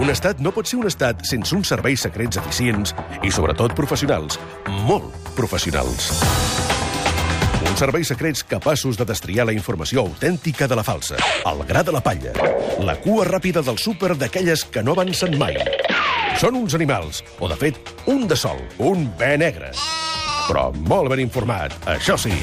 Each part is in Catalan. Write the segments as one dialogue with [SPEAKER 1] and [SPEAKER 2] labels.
[SPEAKER 1] Un estat no pot ser un estat sense uns serveis secrets eficients i, sobretot, professionals. Molt professionals. Uns serveis secrets capaços de destriar la informació autèntica de la falsa, el gra de la palla, la cua ràpida del súper d'aquelles que no avancen mai. Són uns animals, o de fet, un de sol, un bé negre. Però molt ben informat, això sí.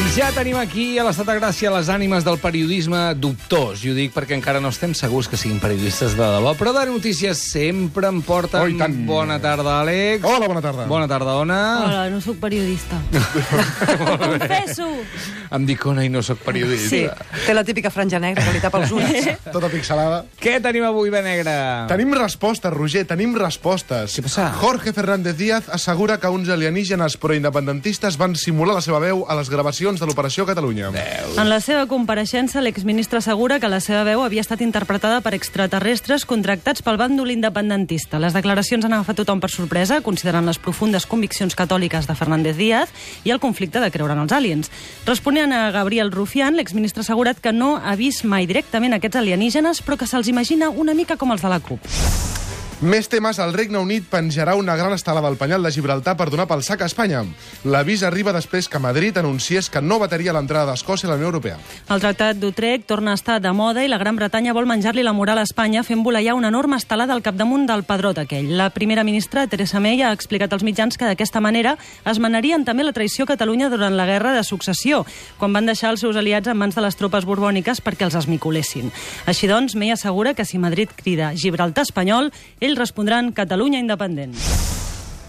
[SPEAKER 2] I ja tenim aquí a l'estat de gràcia les ànimes del periodisme dubtós. I ho dic perquè encara no estem segurs que siguin periodistes de debò, però de notícies sempre en porten...
[SPEAKER 3] Oh, i tant.
[SPEAKER 2] Bona tarda, Àlex.
[SPEAKER 3] Hola, bona tarda.
[SPEAKER 2] Bona tarda, Ona.
[SPEAKER 4] Hola, no sóc periodista. Confesso!
[SPEAKER 2] Em dic Ona i no sóc periodista.
[SPEAKER 5] Sí, té la típica franja negra que li tapa els ulls.
[SPEAKER 3] Tota pixelada.
[SPEAKER 2] Què tenim avui, Benegra?
[SPEAKER 3] Tenim respostes, Roger, tenim respostes.
[SPEAKER 2] Ah. Què passa?
[SPEAKER 3] Jorge Fernández Díaz assegura que uns alienígenes proindependentistes van simular la seva veu a les gravacions de l'Operació Catalunya.
[SPEAKER 4] En la seva compareixença, l'exministre assegura que la seva veu havia estat interpretada per extraterrestres contractats pel bàndol independentista. Les declaracions han agafat tothom per sorpresa, considerant les profundes conviccions catòliques de Fernández Díaz i el conflicte de creure en els aliens. Responent a Gabriel Rufián, l'exministre ha assegurat que no ha vist mai directament aquests alienígenes, però que se'ls imagina una mica com els de la CUP.
[SPEAKER 3] Més temes, el Regne Unit penjarà una gran estelada al penyal de Gibraltar per donar pel sac a Espanya. L'avís arriba després que Madrid anunciés que no vetaria l'entrada d'Escòcia a la Unió Europea.
[SPEAKER 4] El tractat d'Utrecht torna a estar de moda i la Gran Bretanya vol menjar-li la moral a Espanya fent voleiar una enorme estelada al capdamunt del padrot aquell. La primera ministra, Teresa May, ha explicat als mitjans que d'aquesta manera es manarien també la traïció a Catalunya durant la guerra de successió, quan van deixar els seus aliats en mans de les tropes borbòniques perquè els esmicolessin. Així doncs, May assegura que si Madrid crida Gibraltar espanyol, ells respondran Catalunya independent.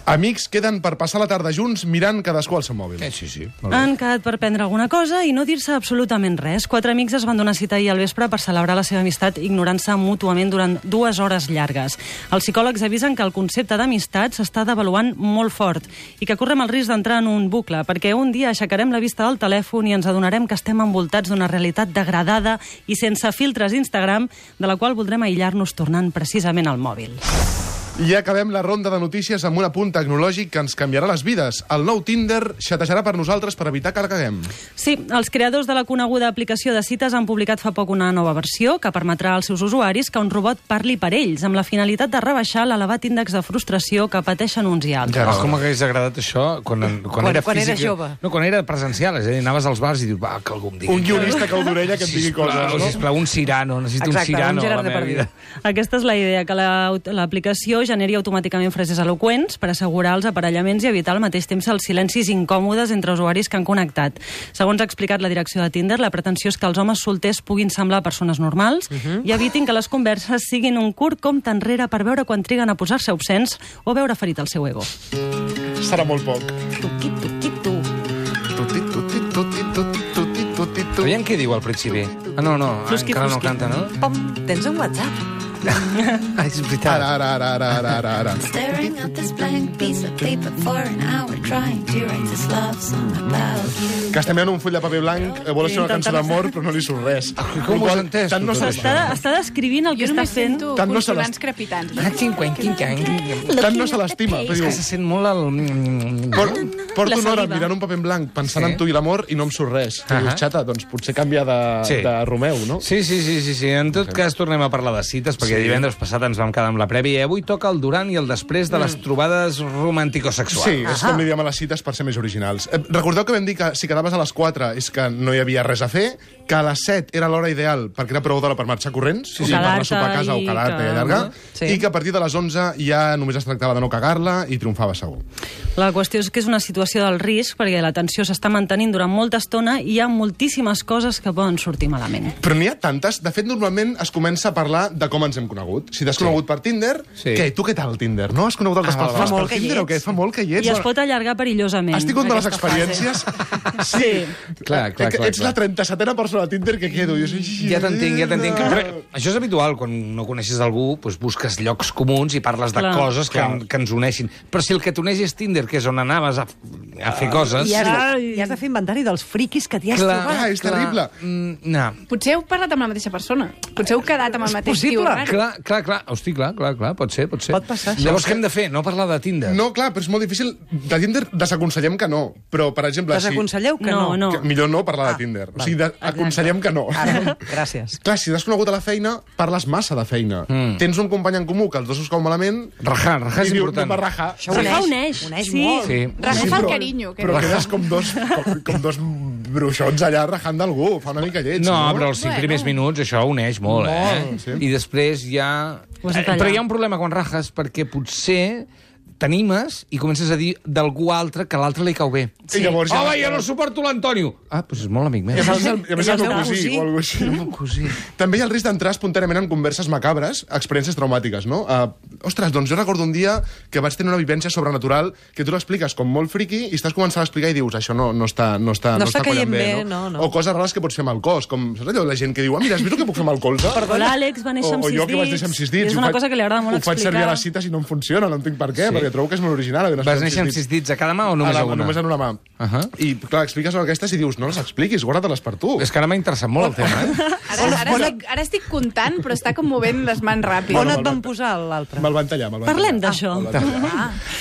[SPEAKER 3] Amics queden per passar la tarda junts mirant cadascú al seu mòbil.
[SPEAKER 2] Eh, sí, sí.
[SPEAKER 4] Han quedat per prendre alguna cosa i no dir-se absolutament res. Quatre amics es van donar cita ahir al vespre per celebrar la seva amistat ignorant-se mútuament durant dues hores llargues. Els psicòlegs avisen que el concepte d'amistat s'està devaluant molt fort i que correm el risc d'entrar en un bucle, perquè un dia aixecarem la vista del telèfon i ens adonarem que estem envoltats d'una realitat degradada i sense filtres Instagram, de la qual voldrem aïllar-nos tornant precisament al mòbil.
[SPEAKER 3] I acabem la ronda de notícies amb un apunt tecnològic que ens canviarà les vides. El nou Tinder xatejarà per nosaltres per evitar que la caguem.
[SPEAKER 4] Sí, els creadors de la coneguda aplicació de cites han publicat fa poc una nova versió que permetrà als seus usuaris que un robot parli per ells, amb la finalitat de rebaixar l'elevat índex de frustració que pateixen uns i altres.
[SPEAKER 3] Ja no.
[SPEAKER 2] Ah, com hagués agradat això quan, quan,
[SPEAKER 5] Quan-
[SPEAKER 2] era
[SPEAKER 5] quan
[SPEAKER 2] físic...
[SPEAKER 5] eres jove.
[SPEAKER 2] No, quan era presencial, és a dir, anaves als bars i dius, va, que algú em digui...
[SPEAKER 3] Un guionista que ho d'orella que et digui coses, no?
[SPEAKER 2] Sisplau, un cirano, necessito
[SPEAKER 5] Exacte,
[SPEAKER 2] un
[SPEAKER 5] un
[SPEAKER 2] cirano a la
[SPEAKER 5] Gerard
[SPEAKER 2] meva
[SPEAKER 5] Depardieu.
[SPEAKER 2] vida.
[SPEAKER 4] Aquesta és la idea, que la- l'aplicació generi automàticament frases eloqüents per assegurar els aparellaments i evitar al mateix temps els silencis incòmodes entre usuaris que han connectat. Segons ha explicat la direcció de Tinder, la pretensió és que els homes solters puguin semblar persones normals i evitin que les converses siguin un curt compte enrere per veure quan triguen a posar-se obscens o veure ferit el seu ego.
[SPEAKER 3] Serà molt poc.
[SPEAKER 4] Tuqui, tuqui, tu.
[SPEAKER 2] Aviam què diu al principi. Ah, no, no,
[SPEAKER 4] Flusqui,
[SPEAKER 2] encara no
[SPEAKER 4] flusqui.
[SPEAKER 2] canta, no?
[SPEAKER 5] Pom, tens un WhatsApp?
[SPEAKER 2] Ah, és veritat.
[SPEAKER 3] Ara, ara, ara, ara, ara, ara, ara.
[SPEAKER 6] Staring at this blank piece of paper for an hour, trying to write this love song about you.
[SPEAKER 3] Que estem en un full de paper blanc, eh, vol ser una cançó d'amor, però no li surt res.
[SPEAKER 2] Com ho has
[SPEAKER 3] Igual,
[SPEAKER 2] entès,
[SPEAKER 3] Tant no
[SPEAKER 2] tu, tot això?
[SPEAKER 3] se-
[SPEAKER 4] Està, està descrivint el que
[SPEAKER 7] Jo
[SPEAKER 4] està
[SPEAKER 7] només
[SPEAKER 4] fent...
[SPEAKER 7] sento
[SPEAKER 3] Tant no se
[SPEAKER 7] consonants
[SPEAKER 3] les-
[SPEAKER 7] crepitants.
[SPEAKER 2] Ah, cinquan, quinquan, quinquan.
[SPEAKER 3] tant no se l'estima. però
[SPEAKER 2] És
[SPEAKER 3] diu,
[SPEAKER 2] que se sent molt el...
[SPEAKER 3] Por, porto
[SPEAKER 4] La
[SPEAKER 3] una hora
[SPEAKER 4] saliva.
[SPEAKER 3] mirant un paper en blanc, pensant
[SPEAKER 2] Sí.
[SPEAKER 3] en tu i l'amor, i no em surt res. Tu
[SPEAKER 2] Ahà.
[SPEAKER 3] dius, xata, doncs potser canvia de,
[SPEAKER 2] Sí.
[SPEAKER 3] de Romeu, no?
[SPEAKER 2] Sí, sí, sí, sí, sí. En tot cas, tornem a parlar de cites, perquè sí. divendres passat ens vam quedar amb la prèvia i avui toca el durant i el després de les trobades romàntico-sexuals.
[SPEAKER 3] Sí, és com li diem a les cites per ser més originals. Eh, Recordeu que vam dir que si quedaves a les 4 és que no hi havia res a fer, que a les 7 era l'hora ideal perquè era prou d'hora per marxar corrents, sí,
[SPEAKER 4] O
[SPEAKER 3] sí. per anar a
[SPEAKER 4] quedar-te
[SPEAKER 3] sopar a casa o
[SPEAKER 4] i
[SPEAKER 3] calar-te i
[SPEAKER 4] que-
[SPEAKER 3] allargar,
[SPEAKER 5] Sí.
[SPEAKER 3] sí. i que a partir de les 11 ja només es tractava de no cagar-la i triomfava segur.
[SPEAKER 4] La qüestió és que és una situació del risc, perquè la tensió s'està mantenint durant molta estona i hi ha moltíssimes coses que poden sortir malament.
[SPEAKER 3] Però n'hi ha tantes. De fet, normalment es comença a parlar de com ens hem conegut. Si t'has conegut per Tinder,
[SPEAKER 2] Sí.
[SPEAKER 3] sí. què, tu què tal, Tinder? No has conegut altres
[SPEAKER 2] Ah,
[SPEAKER 3] ah,
[SPEAKER 2] va,
[SPEAKER 3] persones
[SPEAKER 5] va.
[SPEAKER 3] per
[SPEAKER 5] Molt que hi
[SPEAKER 3] Tinder o
[SPEAKER 5] ets.
[SPEAKER 3] què? Fa molt que hi ets.
[SPEAKER 4] I es pot allargar perillosament.
[SPEAKER 3] Has tingut males
[SPEAKER 5] aquesta fase.
[SPEAKER 3] experiències?
[SPEAKER 4] Sí.
[SPEAKER 2] Clar, clar,
[SPEAKER 3] Eh, que
[SPEAKER 2] clar,
[SPEAKER 3] Ets
[SPEAKER 2] clar.
[SPEAKER 3] la 37a persona a Tinder que quedo. Jo soy...
[SPEAKER 2] Ja t'entenc, ja t'entenc. Però Això és habitual, quan no coneixes algú, doncs busques llocs comuns i parles de
[SPEAKER 4] Clar.
[SPEAKER 2] coses que, que ens uneixin. Però si el que t'uneix és Tinder, que és on anaves a, a fer coses...
[SPEAKER 5] I has, de, I has de fer inventari dels friquis que t'hi has
[SPEAKER 2] Clar,
[SPEAKER 5] trobat.
[SPEAKER 3] Ah, és terrible.
[SPEAKER 2] Mm, no.
[SPEAKER 7] Potser heu parlat amb la mateixa persona. Potser heu quedat amb el mateix tio.
[SPEAKER 5] possible.
[SPEAKER 7] raro.
[SPEAKER 2] Clar, clar, clar. Hosti, clar, clar, clar, pot ser, pot ser.
[SPEAKER 5] Pot passar, això.
[SPEAKER 2] Llavors, què hem de fer? No parlar de Tinder?
[SPEAKER 3] No, clar, però és molt difícil. De Tinder desaconsellem que no, però, per exemple... si-
[SPEAKER 5] Desaconselleu que
[SPEAKER 4] No, no.
[SPEAKER 5] no.
[SPEAKER 3] Que millor no parlar
[SPEAKER 5] Ah,
[SPEAKER 3] de Tinder. O
[SPEAKER 5] val.
[SPEAKER 3] sigui, de, aconsellem que no.
[SPEAKER 5] Ara, gràcies.
[SPEAKER 3] Clar, si t'has conegut a la feina, parles massa de feina. Mm. Tens un company en comú que els dos us cau malament...
[SPEAKER 2] Rajar, rajar és
[SPEAKER 3] i diu,
[SPEAKER 2] important.
[SPEAKER 3] No per rajar.
[SPEAKER 5] Això
[SPEAKER 4] Rajar uneix.
[SPEAKER 5] uneix. Uneix
[SPEAKER 4] Sí.
[SPEAKER 5] molt.
[SPEAKER 2] Sí.
[SPEAKER 7] Rajar
[SPEAKER 3] Sí,
[SPEAKER 7] fa el
[SPEAKER 3] però-
[SPEAKER 7] carinyo. Que
[SPEAKER 3] Però
[SPEAKER 7] diu.
[SPEAKER 3] quedes com dos, com, com dos bruixots allà rajant d'algú. Fa una mica lleig,
[SPEAKER 2] No,
[SPEAKER 3] no?
[SPEAKER 2] però els cinc
[SPEAKER 7] Bueno.
[SPEAKER 2] primers minuts això uneix molt, eh?
[SPEAKER 3] Molt, sí.
[SPEAKER 2] I després ja...
[SPEAKER 4] Ho has de
[SPEAKER 2] Eh,
[SPEAKER 4] tallar.
[SPEAKER 2] Però hi ha un problema quan rajes, perquè potser t'animes i comences a dir d'algú altre que a l'altre li cau bé.
[SPEAKER 3] I llavors ja...
[SPEAKER 2] Home, jo no suporto l'Antonio! Ah, doncs és molt amic meu.
[SPEAKER 3] I a més, el, i a més
[SPEAKER 5] és
[SPEAKER 3] el
[SPEAKER 5] el
[SPEAKER 3] meu
[SPEAKER 5] meu
[SPEAKER 3] cosí,
[SPEAKER 5] cosí.
[SPEAKER 3] o alguna cosa així.
[SPEAKER 2] Cosí.
[SPEAKER 3] També hi ha el risc d'entrar espontàniament en converses macabres, experiències traumàtiques, no? Uh, ostres, doncs jo recordo un dia que vaig tenir una vivència sobrenatural que tu l'expliques com molt friqui i estàs començant a explicar i dius això no, no està, no està,
[SPEAKER 5] No
[SPEAKER 3] no
[SPEAKER 5] està
[SPEAKER 3] està collant
[SPEAKER 5] caient
[SPEAKER 3] bé,
[SPEAKER 5] bé,
[SPEAKER 3] no?
[SPEAKER 5] no, no.
[SPEAKER 3] O coses rares que pots fer amb el cos, com saps allò, la gent que diu, ah, mira, has vist el que puc fer amb el colze?
[SPEAKER 4] O l'Àlex va néixer amb
[SPEAKER 3] o, o
[SPEAKER 4] sis
[SPEAKER 3] jo
[SPEAKER 4] dits.
[SPEAKER 3] que vaig néixer amb sis
[SPEAKER 4] I
[SPEAKER 3] dits.
[SPEAKER 4] És
[SPEAKER 3] i ho
[SPEAKER 4] una
[SPEAKER 3] faig-
[SPEAKER 4] cosa que li agrada molt
[SPEAKER 3] Ho faig servir
[SPEAKER 4] explicar.
[SPEAKER 3] a les cites i no em funciona, no entenc per què,
[SPEAKER 2] Sí.
[SPEAKER 3] sí. perquè trobo que és molt original. haver
[SPEAKER 2] Vas
[SPEAKER 3] nascut amb
[SPEAKER 2] néixer amb sis dits a cada mà o només
[SPEAKER 3] a
[SPEAKER 2] a
[SPEAKER 3] la,
[SPEAKER 2] una?
[SPEAKER 3] Només en una mà.
[SPEAKER 2] Ahà.
[SPEAKER 3] I, clar, expliques aquestes i dius, no les expliquis, guarda-les per tu.
[SPEAKER 2] És que ara m'ha interessat molt el tema, eh?
[SPEAKER 7] Ara, ara, estic, ara estic comptant, però està com movent les mans ràpid.
[SPEAKER 5] On et van posar l'altre?
[SPEAKER 3] Me'l van tallar, me'l van
[SPEAKER 4] Parlem
[SPEAKER 3] tallar.
[SPEAKER 4] d'això.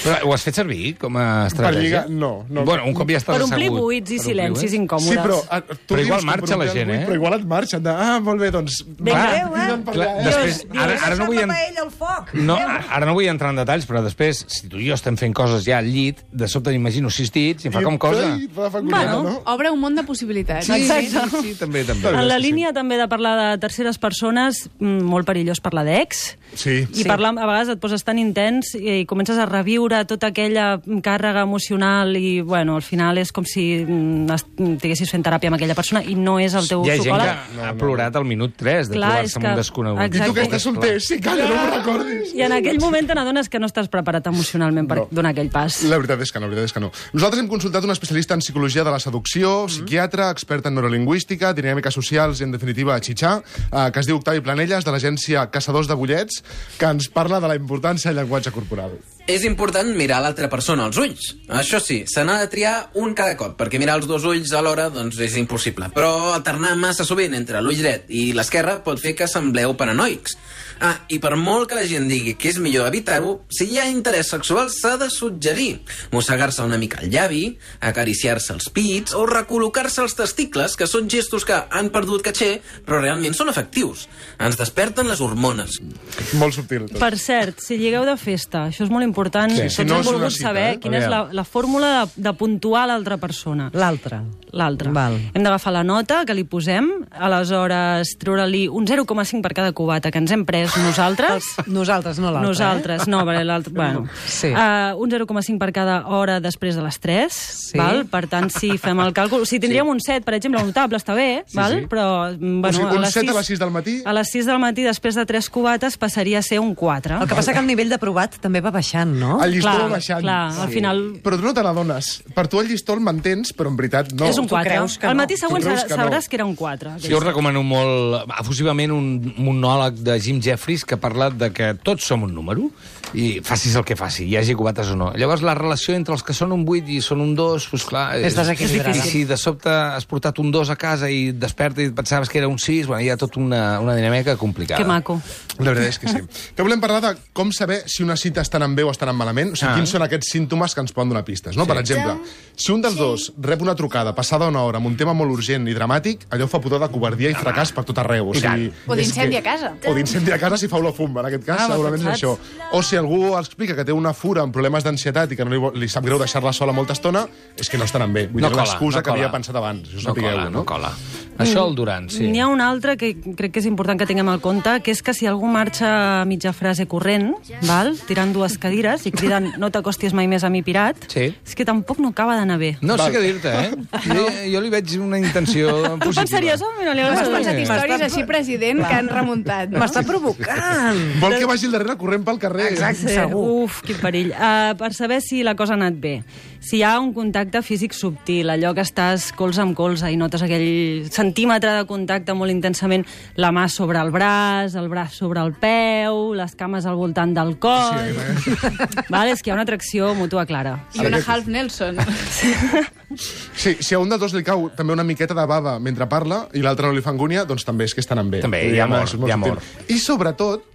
[SPEAKER 2] Però ho has fet servir com a estratègia?
[SPEAKER 3] lligar, no, no.
[SPEAKER 2] Bueno, un cop ja estàs
[SPEAKER 4] Per omplir
[SPEAKER 2] assegut.
[SPEAKER 4] buits i
[SPEAKER 2] Per omplir
[SPEAKER 4] silencis
[SPEAKER 2] buits.
[SPEAKER 4] incòmodes.
[SPEAKER 3] Sí, però... ah, tu
[SPEAKER 2] Però igual
[SPEAKER 3] dius que
[SPEAKER 2] marxa la
[SPEAKER 3] provoquen
[SPEAKER 2] gent,
[SPEAKER 3] buit,
[SPEAKER 2] eh?
[SPEAKER 3] Però igual et marxen de... Ah, molt bé, doncs...
[SPEAKER 2] Clar,
[SPEAKER 5] Adéu, eh?
[SPEAKER 3] Digue'n per
[SPEAKER 2] clar,
[SPEAKER 3] allà, eh?
[SPEAKER 2] després,
[SPEAKER 5] Dius,
[SPEAKER 2] ara, ara no vull... en-
[SPEAKER 5] paella al foc.
[SPEAKER 2] No, a- ara no vull entrar en detalls, però després, si tu i jo estem fent coses ja al llit, de sobte m'imagino sis dits i em fa com cosa.
[SPEAKER 3] Ai, fa conyeta,
[SPEAKER 4] Bueno.
[SPEAKER 3] no?
[SPEAKER 7] Obre un món de possibilitats.
[SPEAKER 2] sí, sí, també, també.
[SPEAKER 4] En la línia també de parlar de terceres persones, mm, molt perillós parlar d'ex,
[SPEAKER 3] Sí.
[SPEAKER 4] i parlar, a vegades et poses tan intens i comences a reviure tota aquella càrrega emocional i, bueno, al final és com si mm, es- estiguessis fent teràpia amb aquella persona i no és el teu
[SPEAKER 2] Hi ha gent que
[SPEAKER 4] psicòleg.
[SPEAKER 2] ha plorat al minut 3 de
[SPEAKER 4] Clar,
[SPEAKER 2] trobar-se
[SPEAKER 4] és
[SPEAKER 2] amb un
[SPEAKER 4] que-
[SPEAKER 2] desconegut.
[SPEAKER 4] exacte.
[SPEAKER 3] I tu que
[SPEAKER 4] Exacte.
[SPEAKER 3] estàs solter, sí, calla, no m'ho recordis.
[SPEAKER 4] I en aquell moment te n'adones que no estàs preparat emocionalment per
[SPEAKER 3] No.
[SPEAKER 4] donar aquell pas.
[SPEAKER 3] La veritat és que no, la veritat és que no. Nosaltres hem consultat un especialista en psicologia de la
[SPEAKER 4] Mm-hmm.
[SPEAKER 3] seducció, psiquiatre, expert en neurolingüística, dinàmiques socials i, en definitiva, xitxà, eh, que es diu Octavi Planelles, de l'agència Caçadors de Bullets, que ens parla de la importància del llenguatge corporal.
[SPEAKER 8] És important mirar l'altra persona als ulls. Això sí, se n'ha de triar un cada cop, perquè mirar els dos ulls alhora doncs, és impossible. Però alternar massa sovint entre l'ull dret i l'esquerra pot fer que sembleu paranoics. Ah, i per molt que la gent digui que és millor evitar-ho, si hi ha interès sexual s'ha de suggerir. Mossegar-se una mica el llavi, acariciar-se els pits o recol·locar-se els testicles, que són gestos que han perdut caché, però realment són efectius. Ens desperten les hormones.
[SPEAKER 3] Molt subtil. Tot.
[SPEAKER 4] Per cert, si lligueu de festa, això és molt important.
[SPEAKER 3] Sí,
[SPEAKER 4] Tots
[SPEAKER 3] si no
[SPEAKER 4] hem
[SPEAKER 3] és una
[SPEAKER 4] volgut
[SPEAKER 3] cita,
[SPEAKER 4] saber
[SPEAKER 3] eh?
[SPEAKER 4] quina és la,
[SPEAKER 3] Aviam.
[SPEAKER 4] la fórmula de, de puntuar l'altra persona.
[SPEAKER 5] L'altre.
[SPEAKER 4] L'altra.
[SPEAKER 5] Val.
[SPEAKER 4] Hem d'agafar la nota que li posem, aleshores treure-li un 0,5 per cada cubata que ens hem pres nosaltres.
[SPEAKER 5] Nosaltres, no l'altre. eh?
[SPEAKER 4] Nosaltres, no, perquè l'altre... Bueno.
[SPEAKER 5] Sí.
[SPEAKER 4] Uh, un 0,5 per cada hora després de les 3,
[SPEAKER 5] Sí.
[SPEAKER 4] val? Per tant, si fem el càlcul... Si tindríem sí. un 7, per exemple, un notable, està bé, val? però... mm,
[SPEAKER 3] o
[SPEAKER 4] Bueno,
[SPEAKER 3] sigui, un
[SPEAKER 4] les
[SPEAKER 3] 7 a
[SPEAKER 4] sis-
[SPEAKER 3] les 6 del matí?
[SPEAKER 4] A les 6 del matí, després de 3 cubates, passaria a ser un 4.
[SPEAKER 5] El que passa que el nivell d'aprovat també va baixant, no?
[SPEAKER 3] El llistó
[SPEAKER 4] clar,
[SPEAKER 3] va baixant.
[SPEAKER 4] Clar, al final...
[SPEAKER 3] Però tu no te n'adones. Per tu el llistó el mantens, però en veritat no.
[SPEAKER 4] és un 4.
[SPEAKER 5] creus que
[SPEAKER 4] al
[SPEAKER 5] no.
[SPEAKER 4] matí
[SPEAKER 3] Tu
[SPEAKER 4] següent
[SPEAKER 3] creus
[SPEAKER 4] sa-
[SPEAKER 3] que no.
[SPEAKER 4] sabràs que era un 4.
[SPEAKER 2] Jo us recomano molt, efusivament, un monòleg de Jim Jeffries que ha parlat de que tots som un número i facis el que faci, hi hagi cubates o no. Llavors, la relació entre els que són un 8 i són un 2, doncs clar...
[SPEAKER 5] És desequilibrada.
[SPEAKER 2] I si de sobte has portat un 2 a casa i et desperta i et pensaves que era un 6, bueno, hi ha tota una, una dinàmica complicada.
[SPEAKER 4] Que maco.
[SPEAKER 3] La veritat és que sí. Que volem parlar de com saber si una cita estan en bé o estan en malament, o sigui,
[SPEAKER 2] Ah.
[SPEAKER 3] ah. quins són aquests símptomes que ens poden donar pistes, no? Sí. Per exemple, si un dels dos rep una trucada passada una hora amb un tema molt urgent i dramàtic, allò fa pudor de covardia i fracàs per tot arreu. O, sigui,
[SPEAKER 7] O
[SPEAKER 3] és
[SPEAKER 7] d'incendi a casa.
[SPEAKER 3] O d'incendi a casa si fa olor a fum, en aquest cas,
[SPEAKER 4] Ah,
[SPEAKER 3] ah, segurament és
[SPEAKER 4] pensats.
[SPEAKER 3] això. O si algú explica que té una fura amb problemes d'ansietat i que no li, vo- li sap greu deixar-la sola molta estona, és que no estan en bé. Vull
[SPEAKER 2] No
[SPEAKER 3] dir, una
[SPEAKER 2] cola,
[SPEAKER 3] excusa
[SPEAKER 2] no
[SPEAKER 3] que havia
[SPEAKER 2] cola.
[SPEAKER 3] pensat abans, si us
[SPEAKER 2] No cola, no
[SPEAKER 3] no?
[SPEAKER 2] cola. Això el Durant, sí.
[SPEAKER 4] N'hi ha un altre que crec que és important que tinguem en compte, que és que si algú marxa a mitja frase corrent, val, tirant dues cadires i criden no t'acostis mai més a mi, pirat,
[SPEAKER 2] Sí.
[SPEAKER 4] és que tampoc no acaba d'anar bé.
[SPEAKER 2] No sé què dir-te, eh? Jo, jo li veig una intenció positiva.
[SPEAKER 4] Tu pensaries, home, no li
[SPEAKER 7] No has
[SPEAKER 4] agrada.
[SPEAKER 7] pensat històries
[SPEAKER 5] M'està-
[SPEAKER 7] així, president, que han remuntat. No?
[SPEAKER 5] M'està provocant.
[SPEAKER 3] Vol que vagi al darrere corrent pel carrer.
[SPEAKER 5] Exacte,
[SPEAKER 4] Sí,
[SPEAKER 5] segur.
[SPEAKER 4] Uf, quin perill. Uh, per saber si la cosa ha anat bé, si hi ha un contacte físic subtil, allò que estàs colze amb colze i notes aquell centímetre de contacte molt intensament, la mà sobre el braç, el braç sobre el peu, les cames al voltant del coll... Sí, vale, és que hi ha una atracció mútua clara.
[SPEAKER 7] I una Half Nelson.
[SPEAKER 3] Sí, si a un de dos li cau també una miqueta de bava mentre parla i l'altre no li fa angúnia, doncs també és que estan amb bé.
[SPEAKER 2] També,
[SPEAKER 3] Vull dir,
[SPEAKER 2] hi ha
[SPEAKER 3] home,
[SPEAKER 2] amor,
[SPEAKER 3] és molt
[SPEAKER 2] hi ha
[SPEAKER 3] subtil.
[SPEAKER 2] amor.
[SPEAKER 3] I sobretot,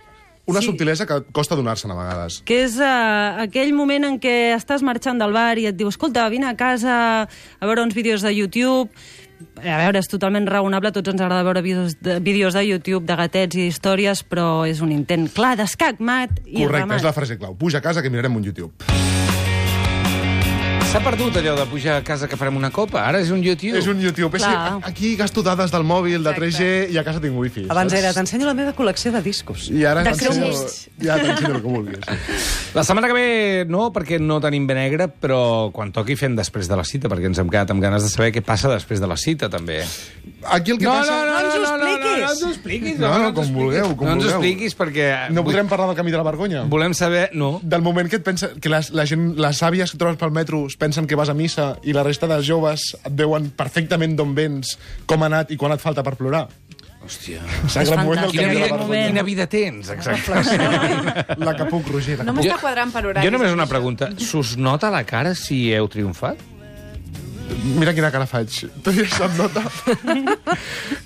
[SPEAKER 3] una sí. subtilesa que costa donar-se'n a vegades.
[SPEAKER 4] que és uh, aquell moment en què estàs marxant del bar i et diu, escolta, vine a casa a veure uns vídeos de YouTube, a veure, és totalment raonable, a tots ens agrada veure vídeos de, vídeos de YouTube, de gatets i històries, però és un intent clar d'escac, mat i
[SPEAKER 3] Correcte, és la
[SPEAKER 4] ramat.
[SPEAKER 3] frase clau. Puja a casa que mirarem un YouTube.
[SPEAKER 2] S'ha perdut allò de pujar a casa que farem una copa. Ara és un YouTube.
[SPEAKER 3] És un YouTube. És
[SPEAKER 4] Clar.
[SPEAKER 3] que aquí gasto dades del mòbil, de 3G, i a casa tinc wifi.
[SPEAKER 5] Abans
[SPEAKER 3] saps?
[SPEAKER 5] era, t'ensenyo la meva col·lecció de discos.
[SPEAKER 3] I ara
[SPEAKER 5] de
[SPEAKER 3] t'ensenyo...
[SPEAKER 5] cromos.
[SPEAKER 3] Ja t'ensenyo el que vulguis.
[SPEAKER 2] La setmana que ve no, perquè no tenim bé negre, però quan toqui fem després de la cita, perquè ens hem quedat amb ganes de saber què passa després de la cita, també.
[SPEAKER 3] Aquí el que
[SPEAKER 2] No, no,
[SPEAKER 3] passa...
[SPEAKER 2] no, no,
[SPEAKER 5] ens ho
[SPEAKER 2] no, no, no, no,
[SPEAKER 5] expliquis.
[SPEAKER 2] no ens ho expliquis.
[SPEAKER 3] No, no,
[SPEAKER 2] ens ho
[SPEAKER 3] com
[SPEAKER 2] expliquis.
[SPEAKER 3] vulgueu, com
[SPEAKER 2] No ens ho
[SPEAKER 3] vulgueu.
[SPEAKER 2] expliquis, perquè...
[SPEAKER 3] No
[SPEAKER 2] vull-
[SPEAKER 3] podrem parlar del camí de la vergonya?
[SPEAKER 2] Volem saber... No.
[SPEAKER 3] Del moment que et pensa, que les, la gent, les àvies que trobes pel metro es pensen que vas a missa i la resta de joves et veuen perfectament d'on vens, com ha anat i quan et falta per plorar.
[SPEAKER 2] Hòstia.
[SPEAKER 3] Saps el moment del
[SPEAKER 2] Quina
[SPEAKER 3] camí de
[SPEAKER 2] vida,
[SPEAKER 3] la vergonya?
[SPEAKER 2] quina vida tens, exacte.
[SPEAKER 3] La que puc, Roger. La
[SPEAKER 7] No
[SPEAKER 3] que
[SPEAKER 7] m'està quadrant per horaris.
[SPEAKER 2] Jo només una pregunta. S'us nota a la cara si heu triomfat?
[SPEAKER 3] puc. Mira quina cara faig. Tu ja se'm nota.